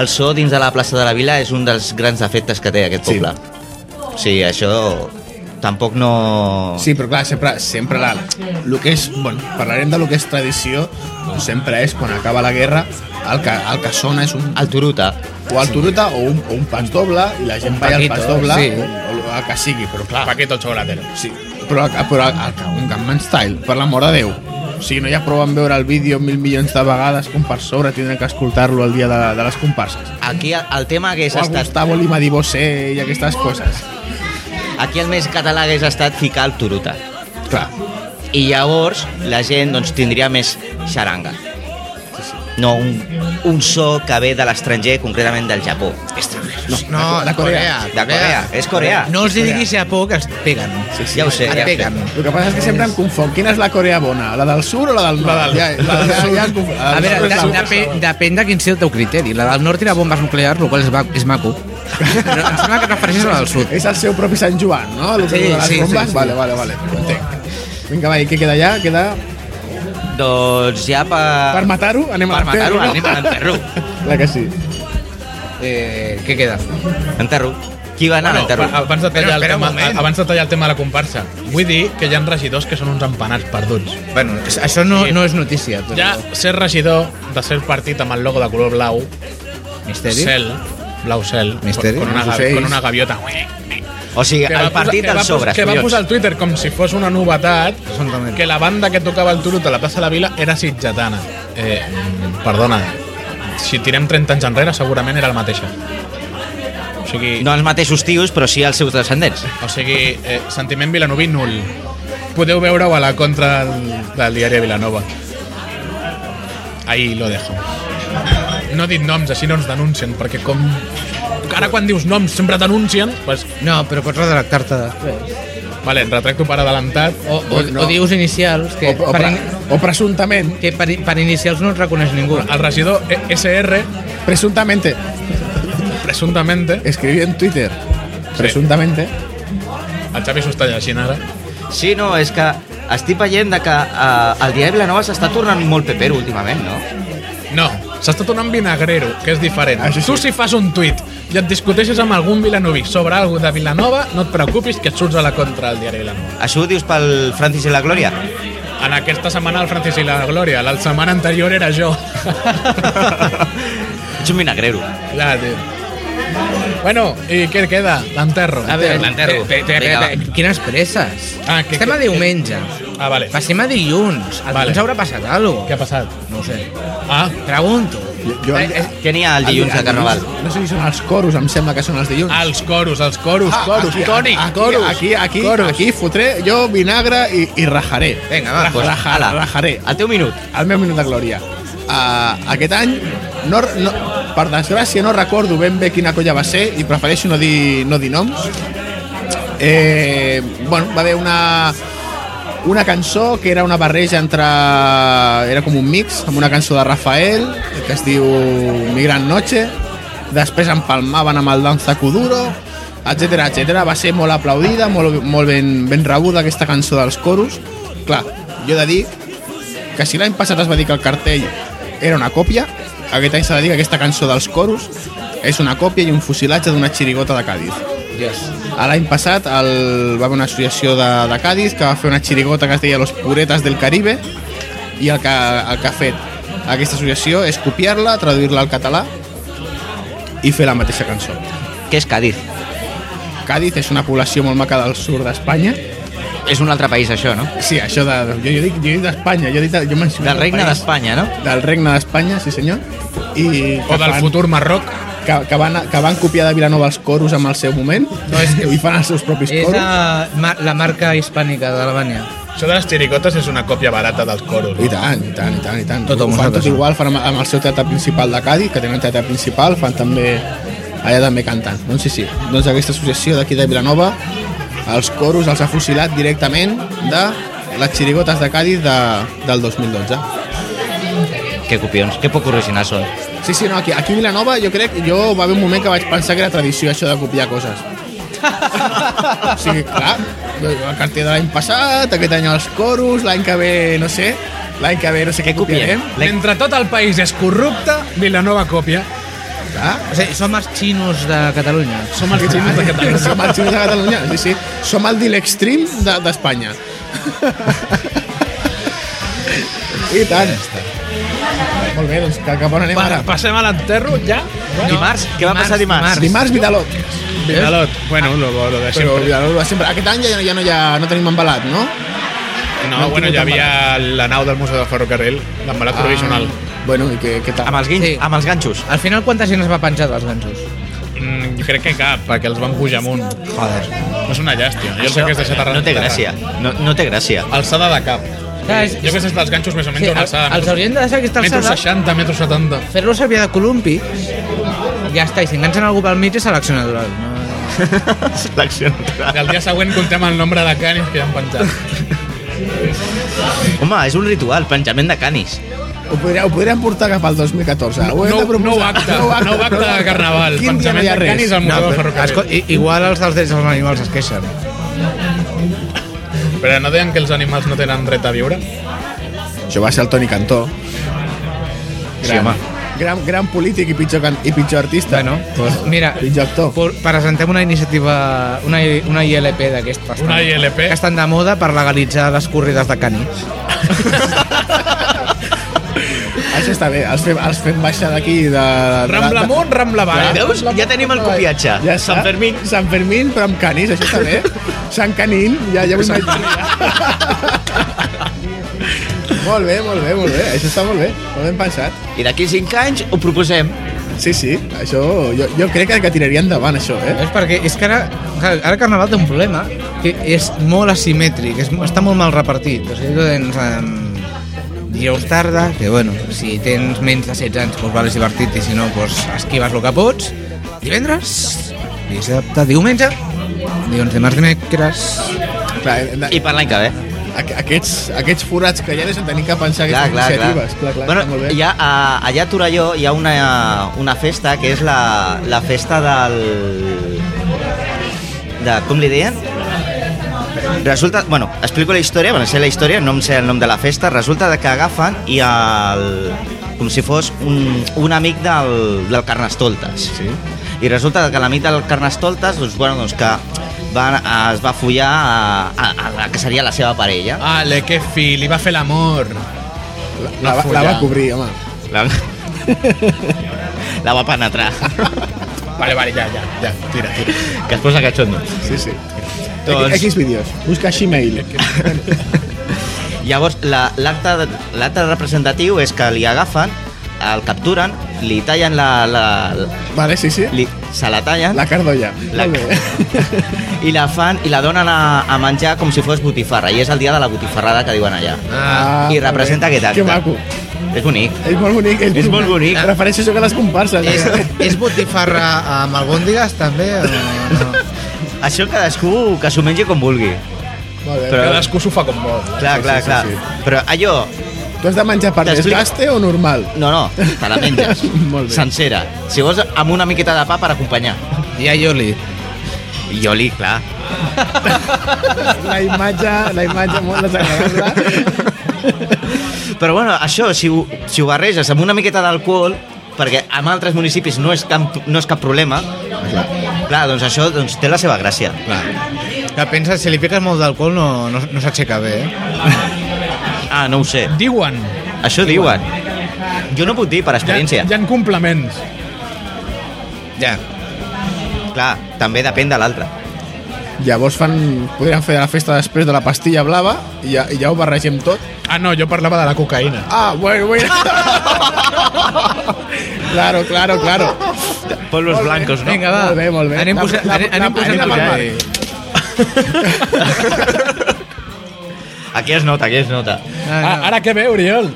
el so dins de la plaça de la Vila és un dels grans defectes que té aquest Sí. poble. Sí, això tampoc no... Sí, però clar, sempre, sempre la, lo que és, bueno, parlarem de lo que és tradició, doncs sempre és, quan acaba la guerra, el que, el que sona és un El Turuta. o el turuta o un, o un pas doble i la gent balla el paquito, pas doble sí. o, o el que sigui, però clar, Paquito el xocolatero. sí, però, el- però el, el, que- un Gunman Style, per l'amor de Déu. O sigui, no hi ha prou en veure el vídeo mil milions de vegades com per sobre tindrem que escoltar-lo el dia de, de les comparses. Aquí el tema hagués O el estat... Gustavo Lima di Bosé i aquestes coses. Aquí el més català hagués estat ficar el Turuta. Clar, I llavors la gent doncs, tindria més xaranga. No, un, un so que ve de l'estranger, concretament del Japó. no, No, de Corea. De Corea, és Corea. No els diguis a por que es peguen. Sí, sí. Ja ho sé, Et ja ho sé. peguen. El que passa és que sempre em confon. Quina és la Corea bona? La del sur o la del nord? La del, ja, la del sur. Ja, em confon. La A del veure, sur és de, la- depèn, depèn de quin sigui el teu criteri. La del nord tira bombes nuclears, el qual és, va- és maco. Però em sembla que et refereixes a la del sud. És el seu propi Sant Joan, no? El Sí, sí, de les sí, bombes? sí, sí. Vale, vale, vale. Ho Entenc. Vinga, va, i què queda allà? Queda... Doncs ja per... Per matar-ho, anem a per matar-ho, no? anem a l'enterro. Clar que sí. Eh, què queda? Enterro. Qui va anar a l'enterro? Bueno, abans de, Espera, tallar el espera un tema, moment. abans de tallar el tema de la comparsa, vull dir que hi ha regidors que són uns empanats perduts. Bueno, això no, no és notícia. Però... Ja ser regidor de ser partit amb el logo de color blau, Misteri? cel, blau cel, Misteri? con, con, una, Els ga- ocells. con una gaviota. O sigui, el partit que va dels pos- sobres, Que va collons. posar al Twitter com si fos una novetat Absolutament. que la banda que tocava el turut a la plaça de la Vila era sitjatana. Eh, mm, perdona, si tirem 30 anys enrere segurament era la mateixa. O sigui, No els mateixos tios, però sí els seus descendents. O sigui, eh, sentiment vilanoví nul. Podeu veure-ho a la contra del, del diari de Vilanova. Ahí lo dejo. No he dit noms, així no ens denuncien, perquè com... Ara quan dius noms sempre denuncien, pues, No, però pots redactar-te després. vale, et retracto per adelantat. O, o, No. no. o dius inicials, O, que, o, per, pre, in- o presumptament. que per, i- per inicials no et reconeix ningú. El regidor E- SR, Presuntamente. presumptamente, Escribí en Twitter. Presuntamente. el Xavi s'ho està llegint ara, Sí, no, és que estic veient de que eh, el Diari Vilanova s'està tornant molt pepero últimament, no? No, s'està tornant vinagrero, que és diferent. Això Ah, sí. Tu si fas un tuit i et discuteixes amb algun vilanoví sobre alguna de Vilanova, no et preocupis que et surts a la contra del diari Vilanova. Això ho dius pel Francis i la Glòria? En aquesta setmana el Francis i la Glòria, la setmana anterior era jo. Ets un vinagrero. Clar, tio. Bueno, i què queda? L'enterro. A veure, l'enterro. pe- pe- pe- Vinga, pe- quines presses. Ah, que- Estem a que- diumenge. Ah, vale. Passem a dilluns. El Vale. dilluns haurà passat alguna Què cosa. ha passat? No ho sé. Ah, Pregunto. Jo, Eh, eh, Què n'hi ha el dilluns de Carnaval? No sé si són els coros, em sembla que són els dilluns. ah, els coros, els coros, Ah, coros, aquí, Toni, aquí, coros. Aquí, aquí, coros. aquí fotré jo vinagre i, i rajaré. Vinga, va, Raja- pues, raja- ala. rajaré. El teu minut. El meu minut de glòria. Uh, aquest any, no, no, per desgràcia, no recordo ben bé quina colla va ser i prefereixo no dir, no dir noms. Eh, bueno, va haver una, una cançó que era una barreja entre... Era com un mix amb una cançó de Rafael que es diu Mi gran noche després empalmaven amb el Danza Kuduro etc etc. Va ser molt aplaudida, molt, molt ben, ben rebuda aquesta cançó dels coros clar, jo he de dir que si l'any passat es va dir que el cartell era una còpia, aquest any s'ha de dir que aquesta cançó dels coros és una còpia i un fusilatge d'una xirigota de Càdiz. Yes. A L'any passat el, va haver una associació de, de Cádiz que va fer una xirigota que es deia Los Puretas del Caribe i el que, el que ha fet aquesta associació és copiar-la, traduir-la al català i fer la mateixa cançó. Què és Càdiz? Cádiz és una població molt maca del sud d'Espanya. És un altre país, això, no? Sí, això de... Jo, jo dic, jo dic d'Espanya, jo dic... de- Jo menciono Del el regne país. d'Espanya, no? Del regne d'Espanya, sí senyor. I O del futur Marroc. Que, que, van, que van copiar de Vilanova els coros amb el seu moment no, és que... i fan els seus propis És coros. la, ma- la marca hispànica d'Albània. Això de les xiricotes és una còpia barata dels coros. I tant, i tant, i tant, i tant. Tot ho amb fan nosaltres, tot eh? igual, fan amb, amb el seu teatre principal de Cádiz, que tenen teatre principal, fan també allà també cantant. Doncs sí, sí. Doncs aquesta associació d'aquí de Vilanova, els coros els ha fusilat directament de les xirigotes de Cádiz de, del 2012. Que copions, que poc originals són. Sí, sí, no, aquí, aquí a Vilanova jo crec, jo va haver un moment que vaig pensar que era tradició això de copiar coses. o sigui, clar, el cartell de l'any passat, aquest any els coros, l'any que ve, no sé, l'any que ve no sé què, Què copiem? copiarem. Mentre tot el país és corrupte, Vilanova copia. Clar, O sigui, som els xinos de Catalunya. Som els xinos de Catalunya. Som el xino de Catalunya, sí, sí. Som el Dil Extreme de- d'Espanya. I tant. Molt bé, doncs cap cap on anem Bueno, ara? passem a l'enterro ja. Dimarts? Què va passar dimarts? Dimarts, Vidalot. Vidalot. Bueno, lo, lo de Però sempre. Vidalot va sempre. Aquest any ja, ja, no, ja no tenim embalat, no? No, no bueno, tinc hi tan havia la nau del Museu de Ferrocarril, l'embalat ah. provisional. Bueno, i què, què tal? Amb els, guin... Sí. amb els ganxos. Al final, quanta gent es va penjar dels gansos? Mm, crec que cap, perquè els van pujar amunt. Joder. És una llàstia. Jo sé que és deixat arran. No té gràcia. No, no té gràcia. Alçada de cap. Clar, és, Jo que sé dels ganxos més o menys Sí, una alçada. els haurien de deixar aquesta Metro alçada. 60, metro 70. Fer-lo servir de columpi, ja està, i si enganxen algú pel mig és selecció natural. No? Selecció I el dia següent comptem el nombre de canis que hi han penjat. Home, és un ritual, penjament de canis. Ho, podria, ho podríem portar cap al 2014. Ho hem Nou- de proposar. nou acte, nou acte de carnaval. Quin dia no hi Pensament ha de res? canis al Museu de però, Ferrocarril. escol- i, igual els dels drets dels animals es queixen. Però no deien que els animals no tenen dret a viure? Això va ser el Toni Cantó. Sí, home. Gran, gran polític i pitjor, can, i pitjor artista. Bueno, pues mira, Pitjor actor. por- presentem una iniciativa, una, I- una ILP d'aquest bastant. Una ILP? Que estan de moda per legalitzar les corrides de canis. Això està bé, els fem, els fem baixar d'aquí de... de- Rambla de- amunt, Rambla avall. Veus? Ja tenim el copiatge. Ja Sant està. Fermín. Sant Fermín, però amb canis, això està bé. Sant Canin, ja, ja m'ho imagino. molt bé, molt bé, molt bé. Això està molt bé, molt ben pensat. I d'aquí 5 anys ho proposem. Sí, sí, això... Jo, jo crec que, que tiraria endavant, això, eh? És perquè és que ara, clar, ara Carnaval té un problema que és molt asimètric, és, mo- està molt mal repartit. O sigui, tu tens um, dijous tarda, que bueno, si tens menys de 16 anys, doncs vale, és divertit, i si no, doncs esquives el que pots. Divendres, dissabte, diumenge, dilluns, dimarts, dimecres... Clar, hem de- I per l'any que ve. aqu- aquests, aquests forats que hi ha és en tenir que pensar Clar, aquestes clar, clar. iniciatives. Clar, clar, està molt bueno, bé. hi ha, a, allà a Torelló hi ha una, una festa que és la, la festa del... De, com li deien? Resulta, bueno, explico la història, bueno, sé la història, no em sé el nom de la festa, resulta de que agafen i el, com si fos un, un amic del, del Carnestoltes. Sí. I resulta que l'amic del Carnestoltes, doncs, bueno, doncs que va, es va follar a, a, a la que seria la seva parella. Ale, que fill, li va fer l'amor. La, la, va- la va cobrir, home. La, la va penetrar. Vale, vale, ja, ja, ja, tira, tira. Que es posa cachondo. Sí, sí. Doncs- Doncs... X vídeos. Busca Gmail. Llavors, la- l'acte la, l'acte representatiu és que li agafen, el capturen, li tallen la... la Vale, sí, sí. li, se la tallen La cardolla. La- Molt bé. i la fan i la donen a, a menjar com si fos botifarra i és el dia de la botifarrada que diuen allà Ah, i representa molt bé. aquest acte Que maco. és bonic És molt bonic. És, És molt bonic. Refereixo això que les comparses. És, eh? és botifarra amb albòndigues, també? O no? això cadascú que s'ho mengi com vulgui Molt bé. Però- Cadascú s'ho fa com vol. clar, Sí, clar, sí, sí, clar sí. però allò, Tu has de menjar per T'explico. desgaste o normal? no, no, te la menges Molt bé. sencera, si vols amb una miqueta de pa per acompanyar I a Ioli. I jo li, clar. La imatge, la imatge molt desagradable. Però bueno, això, si ho, si ho barreges amb una miqueta d'alcohol, perquè en altres municipis no és cap, no és cap problema, clar, doncs això doncs, té la seva gràcia. Clar. Que pensa, si li fiques molt d'alcohol no, no, no s'aixeca bé, eh? Ah, no ho sé. Diuen, Això diuen. Jo no puc dir per hi ha, experiència. hi ha complements. Ja. Clar, també depèn de l'altre. Llavors fan, podríem fer la festa després de la pastilla blava i ja, i ja ho barregem tot. Ah, no, jo parlava de la cocaïna. Ah, bueno, bueno. claro, claro, claro. Polvos blancos, Vinga, va. Molt bé, molt bé. Anem, La- posa, la- anem, la- anem posant la, anem al la, mare. Aquí es nota, aquí es nota. Ah, Ara, ara què ve, Oriol?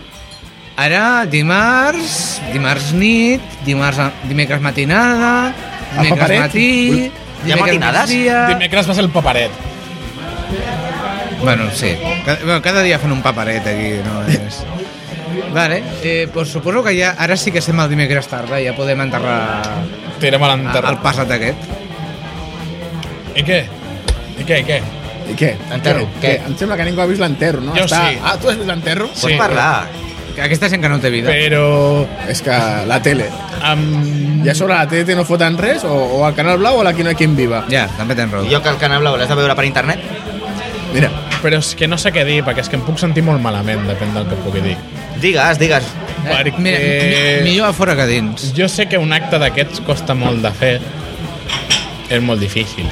ara, dimarts, dimarts nit, dimarts, dimecres matinada, dimecres paperet? matí... Ui. Hi ha dimecres matinades? migdia. Dimecres va ser el paperet. Bueno, sí. Cada, bueno, cada dia fan un paperet aquí, no és... Vale, eh, pues suposo que ja, ara sí que estem al dimecres tarda, ja podem enterrar Tirem a a- l'enterro. Ah, el passat aquest. I què? I què, i què? I què? Enterro, Què? què? Què? Em sembla que ningú ha vist l'enterro, no? Jo sí. Ah, tu has vist l'enterro? Pots parlar. Que Aquesta gent que no té vida. Però... És que la tele. Um, Ja sobre la TDT no foten res o, o al Canal Blau o la Qui no hi ha quien viva. Ja, també tens raó. Jo que el Canal Blau l'has de veure per internet? Mira, però és que no sé què dir, perquè és que em puc sentir molt malament, depèn del que pugui dir. Digues, digues. Perquè... Eh, Mira, mi- millor a fora que a dins. Jo sé que un acte d'aquests costa molt de fer. És molt difícil.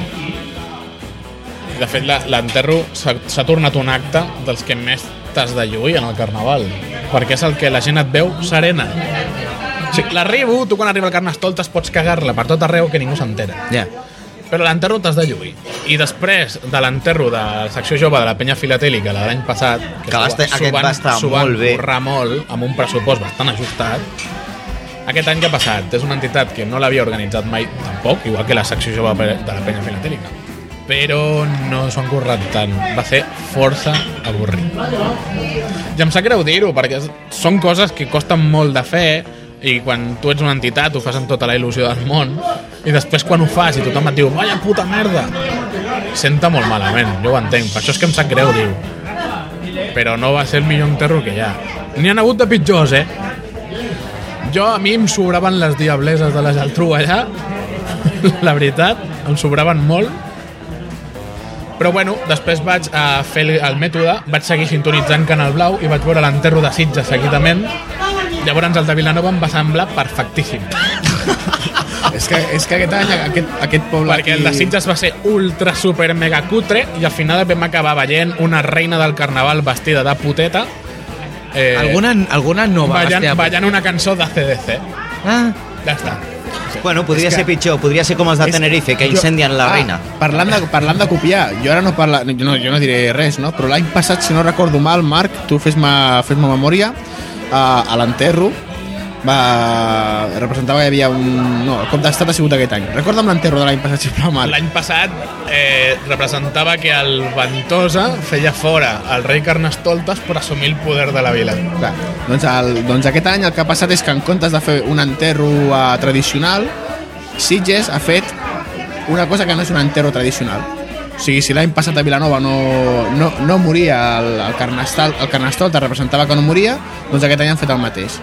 De fet, la- l'enterro s'ha s'ha tornat un acte dels que més t'has de lluir en el carnaval. Perquè és el que la gent et veu serena. O sigui, l'arribo, tu quan arriba el carnestoltes pots cagar-la per tot arreu que ningú s'entera. Ja. Però l'enterro t'has de lluir. I després de l'enterro de la secció jove de la penya filatélica la de l'any passat, Que va estar- s'ho aquest va estar s'ho van molt bé. currar molt, amb un pressupost bastant ajustat, aquest any que ha passat és una entitat que no l'havia organitzat mai tampoc, igual que la secció jove pe- de la penya filatélica però no s'ho han currat tant. Va ser força avorrit. I em sap greu dir-ho, perquè és- són coses que costen molt de fer i quan tu ets una entitat ho fas amb tota la il·lusió del món i després quan ho fas i tothom et diu «Vaya puta merda!» Senta molt malament, jo ho entenc. Per això és que em sap greu dir-ho. Però no va ser el millor enterro que hi ha. N'hi han hagut de pitjors, eh? Jo, a mi em sobraven les diableses de la Geltrú allà, la veritat, em sobraven molt. Però bueno, després vaig a fer el- el mètode, vaig seguir sintonitzant Canal Blau i vaig veure l'enterro de Sitges seguidament. Llavors el de Vilanova em va semblar perfectíssim, És que, és que aquest any, aquest, aquest poble perquè el de Sitges va ser ultra super mega cutre i al final vam acabar veient una reina del carnaval vestida de puteta eh, Alguna, alguna no va ballant, hòstia, ballant una cançó de CDC. Ah, Ja està. Bueno, podria ser pitjor, podria ser com els de Tenerife, que incendien Ah. la reina. Ah, Parlant de, parlant de copiar, jo ara no, parla, jo no, jo no diré res, no? però l'any passat, si no recordo mal, Marc, tu fes-me fes memòria, a, a l'enterro va, representava que hi havia un... No, el cop d'estat ha sigut aquest any. Recorda'm l'enterro de l'any passat, sisplau, Marc. L'any passat eh, representava que el Ventosa feia fora el rei Carnestoltes per assumir el poder de la vila. Clar, doncs, el, doncs aquest any el que ha passat és que en comptes de fer un enterro eh, tradicional, Sitges ha fet una cosa que no és un enterro tradicional. O sigui, si l'any passat a Vilanova no, no, no moria el, el, carnestal, el carnestolta representava que no moria, doncs aquest any han fet el mateix.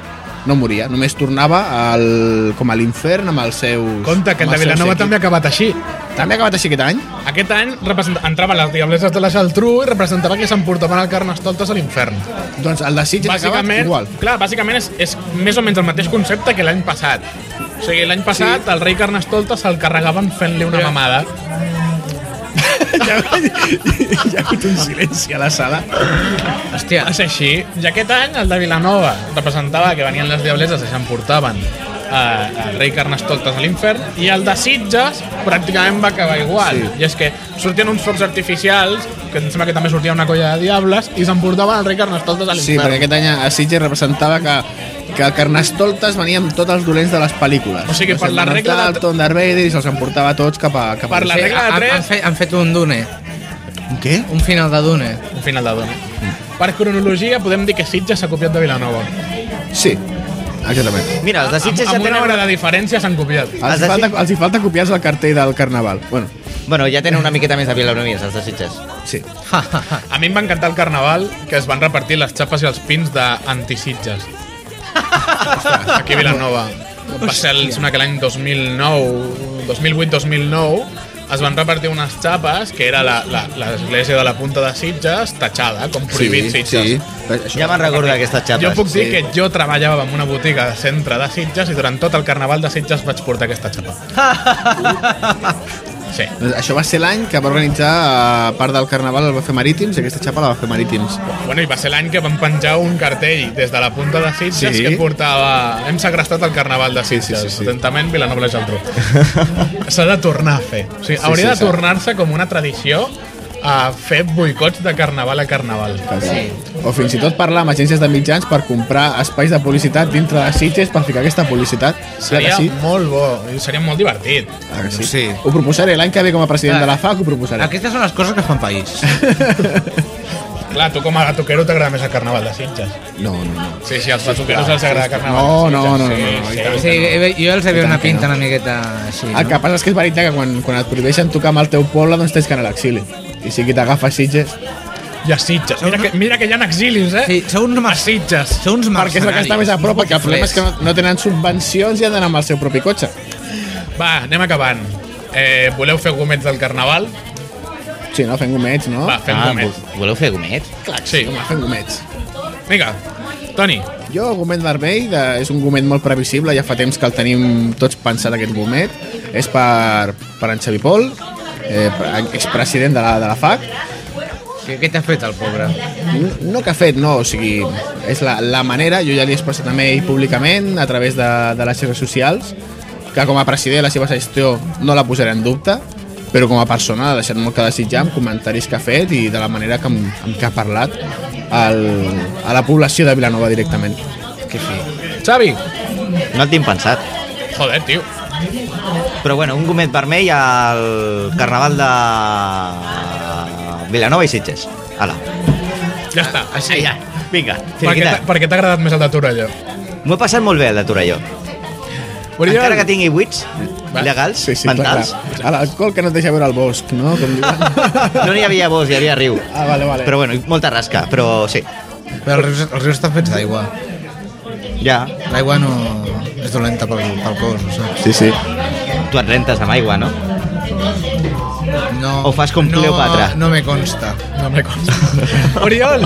No moria, només tornava al, com a l'infern amb els seus... Compte, que el amb de els seus Vilanova séquits. també ha acabat així. També ha acabat així aquest any? Aquest any representa- entrava les diableses de la Geltrú i representava que s'emportaven el Carnestoltes a l'infern. Doncs el de Sitges ha acabat Bàsicament, igual. clar, bàsicament és, és més o menys el mateix concepte que l'any passat. O sigui, l'any passat sí. el rei Carnestoltes se'l carregaven fent-li una mamada. Hi ha hagut un silenci a la sala. hòstia. Va ser així. I aquest any el de Vilanova representava que venien les diableses i s'emportaven eh, el rei Carnestoltes a l'infern i el de Sitges pràcticament va acabar igual. Sí. I és que sortien uns focs artificials, que em sembla que també sortia una colla de diables, i s'emportaven el rei Carnestoltes a Sí, perquè l'infern. aquest any a Sitges representava que, que el Carnestoltes venia amb tots els dolents de les pel·lícules. O sigui, per la regla de- del Tom Darth Vader i se'ls emportava tots cap a... Cap a Per la Sí, regla de han- tres- Han, fet, han fet un Dune, Un Què? un final de Dune. Un final de dona. Per cronologia podem dir que Sitges s'ha copiat de Vilanova. Sí, exactament. Mira, els de Amb, Sitges ja amb una hora tenen... de diferència s'han copiat. Els, Els hi de falta, els hi falta copiar el cartell del Carnaval. Bueno, Bueno, ja tenen una miqueta més de vilanomies, els de Sitges. sí. Ha, ha, ha. A mi em va encantar el carnaval que es van repartir les xapes i els pins d'antisitges. Aquí a Vilanova. Va ser el, sembla que l'any 2009, 2008-2009, es van repartir unes xapes que era la- la- l'església de la punta de Sitges tatxada, com prohibit Sitges. Ja me'n recordo d'aquestes xapes. Jo puc dir que jo treballava en una botiga de centre de Sitges i durant tot el carnaval de Sitges vaig portar aquesta xapa. Sí. Doncs això va ser l'any que va organitzar eh, part del Carnaval, el va fer Marítims, i aquesta xapa la va fer Marítims. Bueno, i va ser l'any que van penjar un cartell des de la punta de Sitges Sí. sí. que portava... Hem segrestat el carnaval de Sitges. Sí, sí, sí, sí. Atentament, Vilanova i la Geltrú. S'ha de tornar a fer. O sigui, sí, hauria sí, sí, sí. de tornar-se com una tradició a fer boicots de carnaval a carnaval. Sí. O fins i tot parlar amb agències de mitjans per comprar espais de publicitat dintre de Sitges per ficar aquesta publicitat. Clar que Seria sí. molt bo, i seria molt divertit. Ah, que sí. Sí. Ho proposaré l'any que ve com a president de la FAC, ho proposaré. Aquestes són les coses que fan país. Clar, tu com a gatuquero t'agrada més el carnaval de Sitges. No, no, no. Sí, sí, als gatuqueros els agrada carnaval No, de Sitges. no, no, sí, no, no, i tant. Sí. Sí, jo els havia una que pinta una miqueta així, El Ah, que no? passa és que és veritat que quan, quan et prohibeixen tocar amb el teu poble, doncs tens que anar a l'exili. I si qui t'agafa Sitges... I a Sitges. Mira que, mira que hi ha exilis, eh? Sí, sou uns, A mar... Sitges. sou uns mercenaris. Perquè és la que està més a prop, perquè el problema és que no, no tenen subvencions i han d'anar amb el seu propi cotxe. Va, anem acabant. Eh, voleu fer gomets del carnaval? Sí, no? Fent gomets, no? Va, fem Ah, gomets. vo- voleu fer gomets? clar, sí. Home, fent gomets. doncs. Vinga, Toni, Jo, el gomet vermell, de, és un gomet molt previsible, ja fa temps que el tenim tots pensat, aquest gomet. És per, per en Xavi Pol, eh, per- expresident de la, de la FAC, Què, què t'ha fet, el pobre? No, no que ha fet, no, o sigui, és la, la manera, jo ja l'he expressat també ell públicament a través de, de les xarxes socials, que com a president la seva gestió no la posaré en dubte, però com a persona ha deixat molt que desitjar amb comentaris que ha fet i de la manera que, amb, amb que ha parlat al, a la població de Vilanova directament. Xavi. No el tinc pensat. Joder, tio. Però bueno, un gomet vermell al carnaval de Vilanova i Sitges. Ala. Ja està. Ah, Així ja. Vinga, Per què t'ha- finiquitat. per què t'ha agradat més el de Torelló? M'ho he passat molt bé el de Torelló. Oriol, Encara que tingui buits Va. legals, Sí, sí, clar, mentals, clar. A l'alcohol que no et deixa veure el bosc, no? Com diuen. no n'hi havia bosc, hi havia riu. Ah, vale, vale. Però bueno, i molta rasca, però sí. Però els rius, els rius estan fets d'aigua. Ja. L'aigua no és dolenta pel, pel cos, no saps? Sí, sí. Tu et rentes amb aigua, no? No, O fas com no, Cleopatra. No me consta. No me consta. Oriol,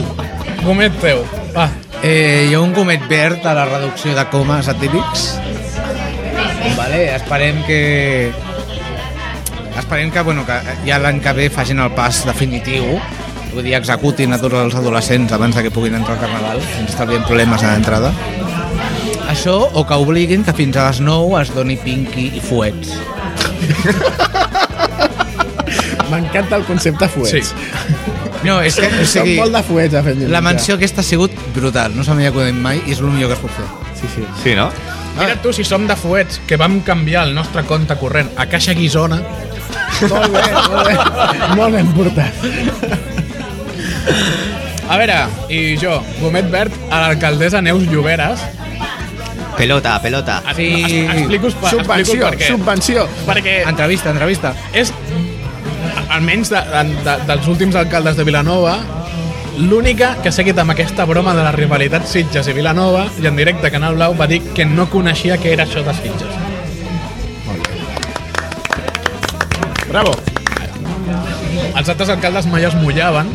gomet teu. Va, Eh, hi ha un comet verd a la reducció de comes atípics. Vale, esperem que... Esperem que, bueno, que ja l'any que ve facin el pas definitiu, vull dir, executin a tots els adolescents abans de que puguin entrar al Carnaval, sense estalvien problemes a l'entrada. Això, o que obliguin que fins a les 9 es doni pinky i fuets. M'encanta el concepte sí. fuets. No, és que, o Són sigui, molt de fuets, ha fet la menció aquesta ha sigut brutal, no se m'hi ha acudit mai i és el millor que es pot fer. Sí, sí. Sí, no? Mira Ah. tu si som de fuets, que vam canviar el nostre compte corrent a Caixa Guisona. Molt bé, molt bé. molt ben portat. A veure, i jo, gomet verd, a l'alcaldessa Neus Lloberes. Pelota, pelota. Es- Sí. es- Explico, per, explico Subvenció, per què. subvenció. Perquè Entrevista, entrevista. és, almenys de, de, dels últims alcaldes de Vilanova, l'única que s'ha quedat amb aquesta broma de la rivalitat Sitges i Vilanova i en directe a Canal Blau va dir que no coneixia què era això de Sitges. Bravo. Els altres alcaldes mai es mullaven,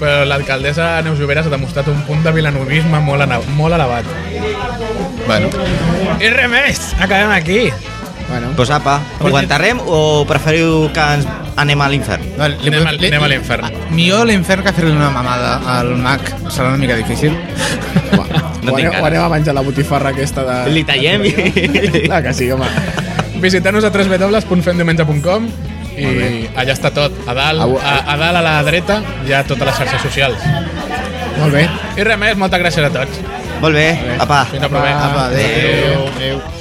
però l'alcaldessa Neus Lloberes ha demostrat un punt de vilanovisme molt, ana- molt elevat. Bueno, I res més, acabem aquí. Bueno, Pues apa, ho enterrem o preferiu que ens anem a l'infern? Vale, li- Anem al- li- anem a l'infern. Millor l'infern que fer-li una mamada al Mac serà una mica difícil. va. No ho, tinc anem, ganes. ho anem a menjar la botifarra aquesta de... Li tallem i... Clar que sí, home. Visiteu-nos a www.femdiumenge.com i allà està tot. A dalt, Au- a, a dalt a la dreta hi ha tota totes les xarxes socials. Molt bé. I res més, moltes gràcies a tots. Molt bé, apa. Fins a proper. Apa, adéu. Adéu. Adéu.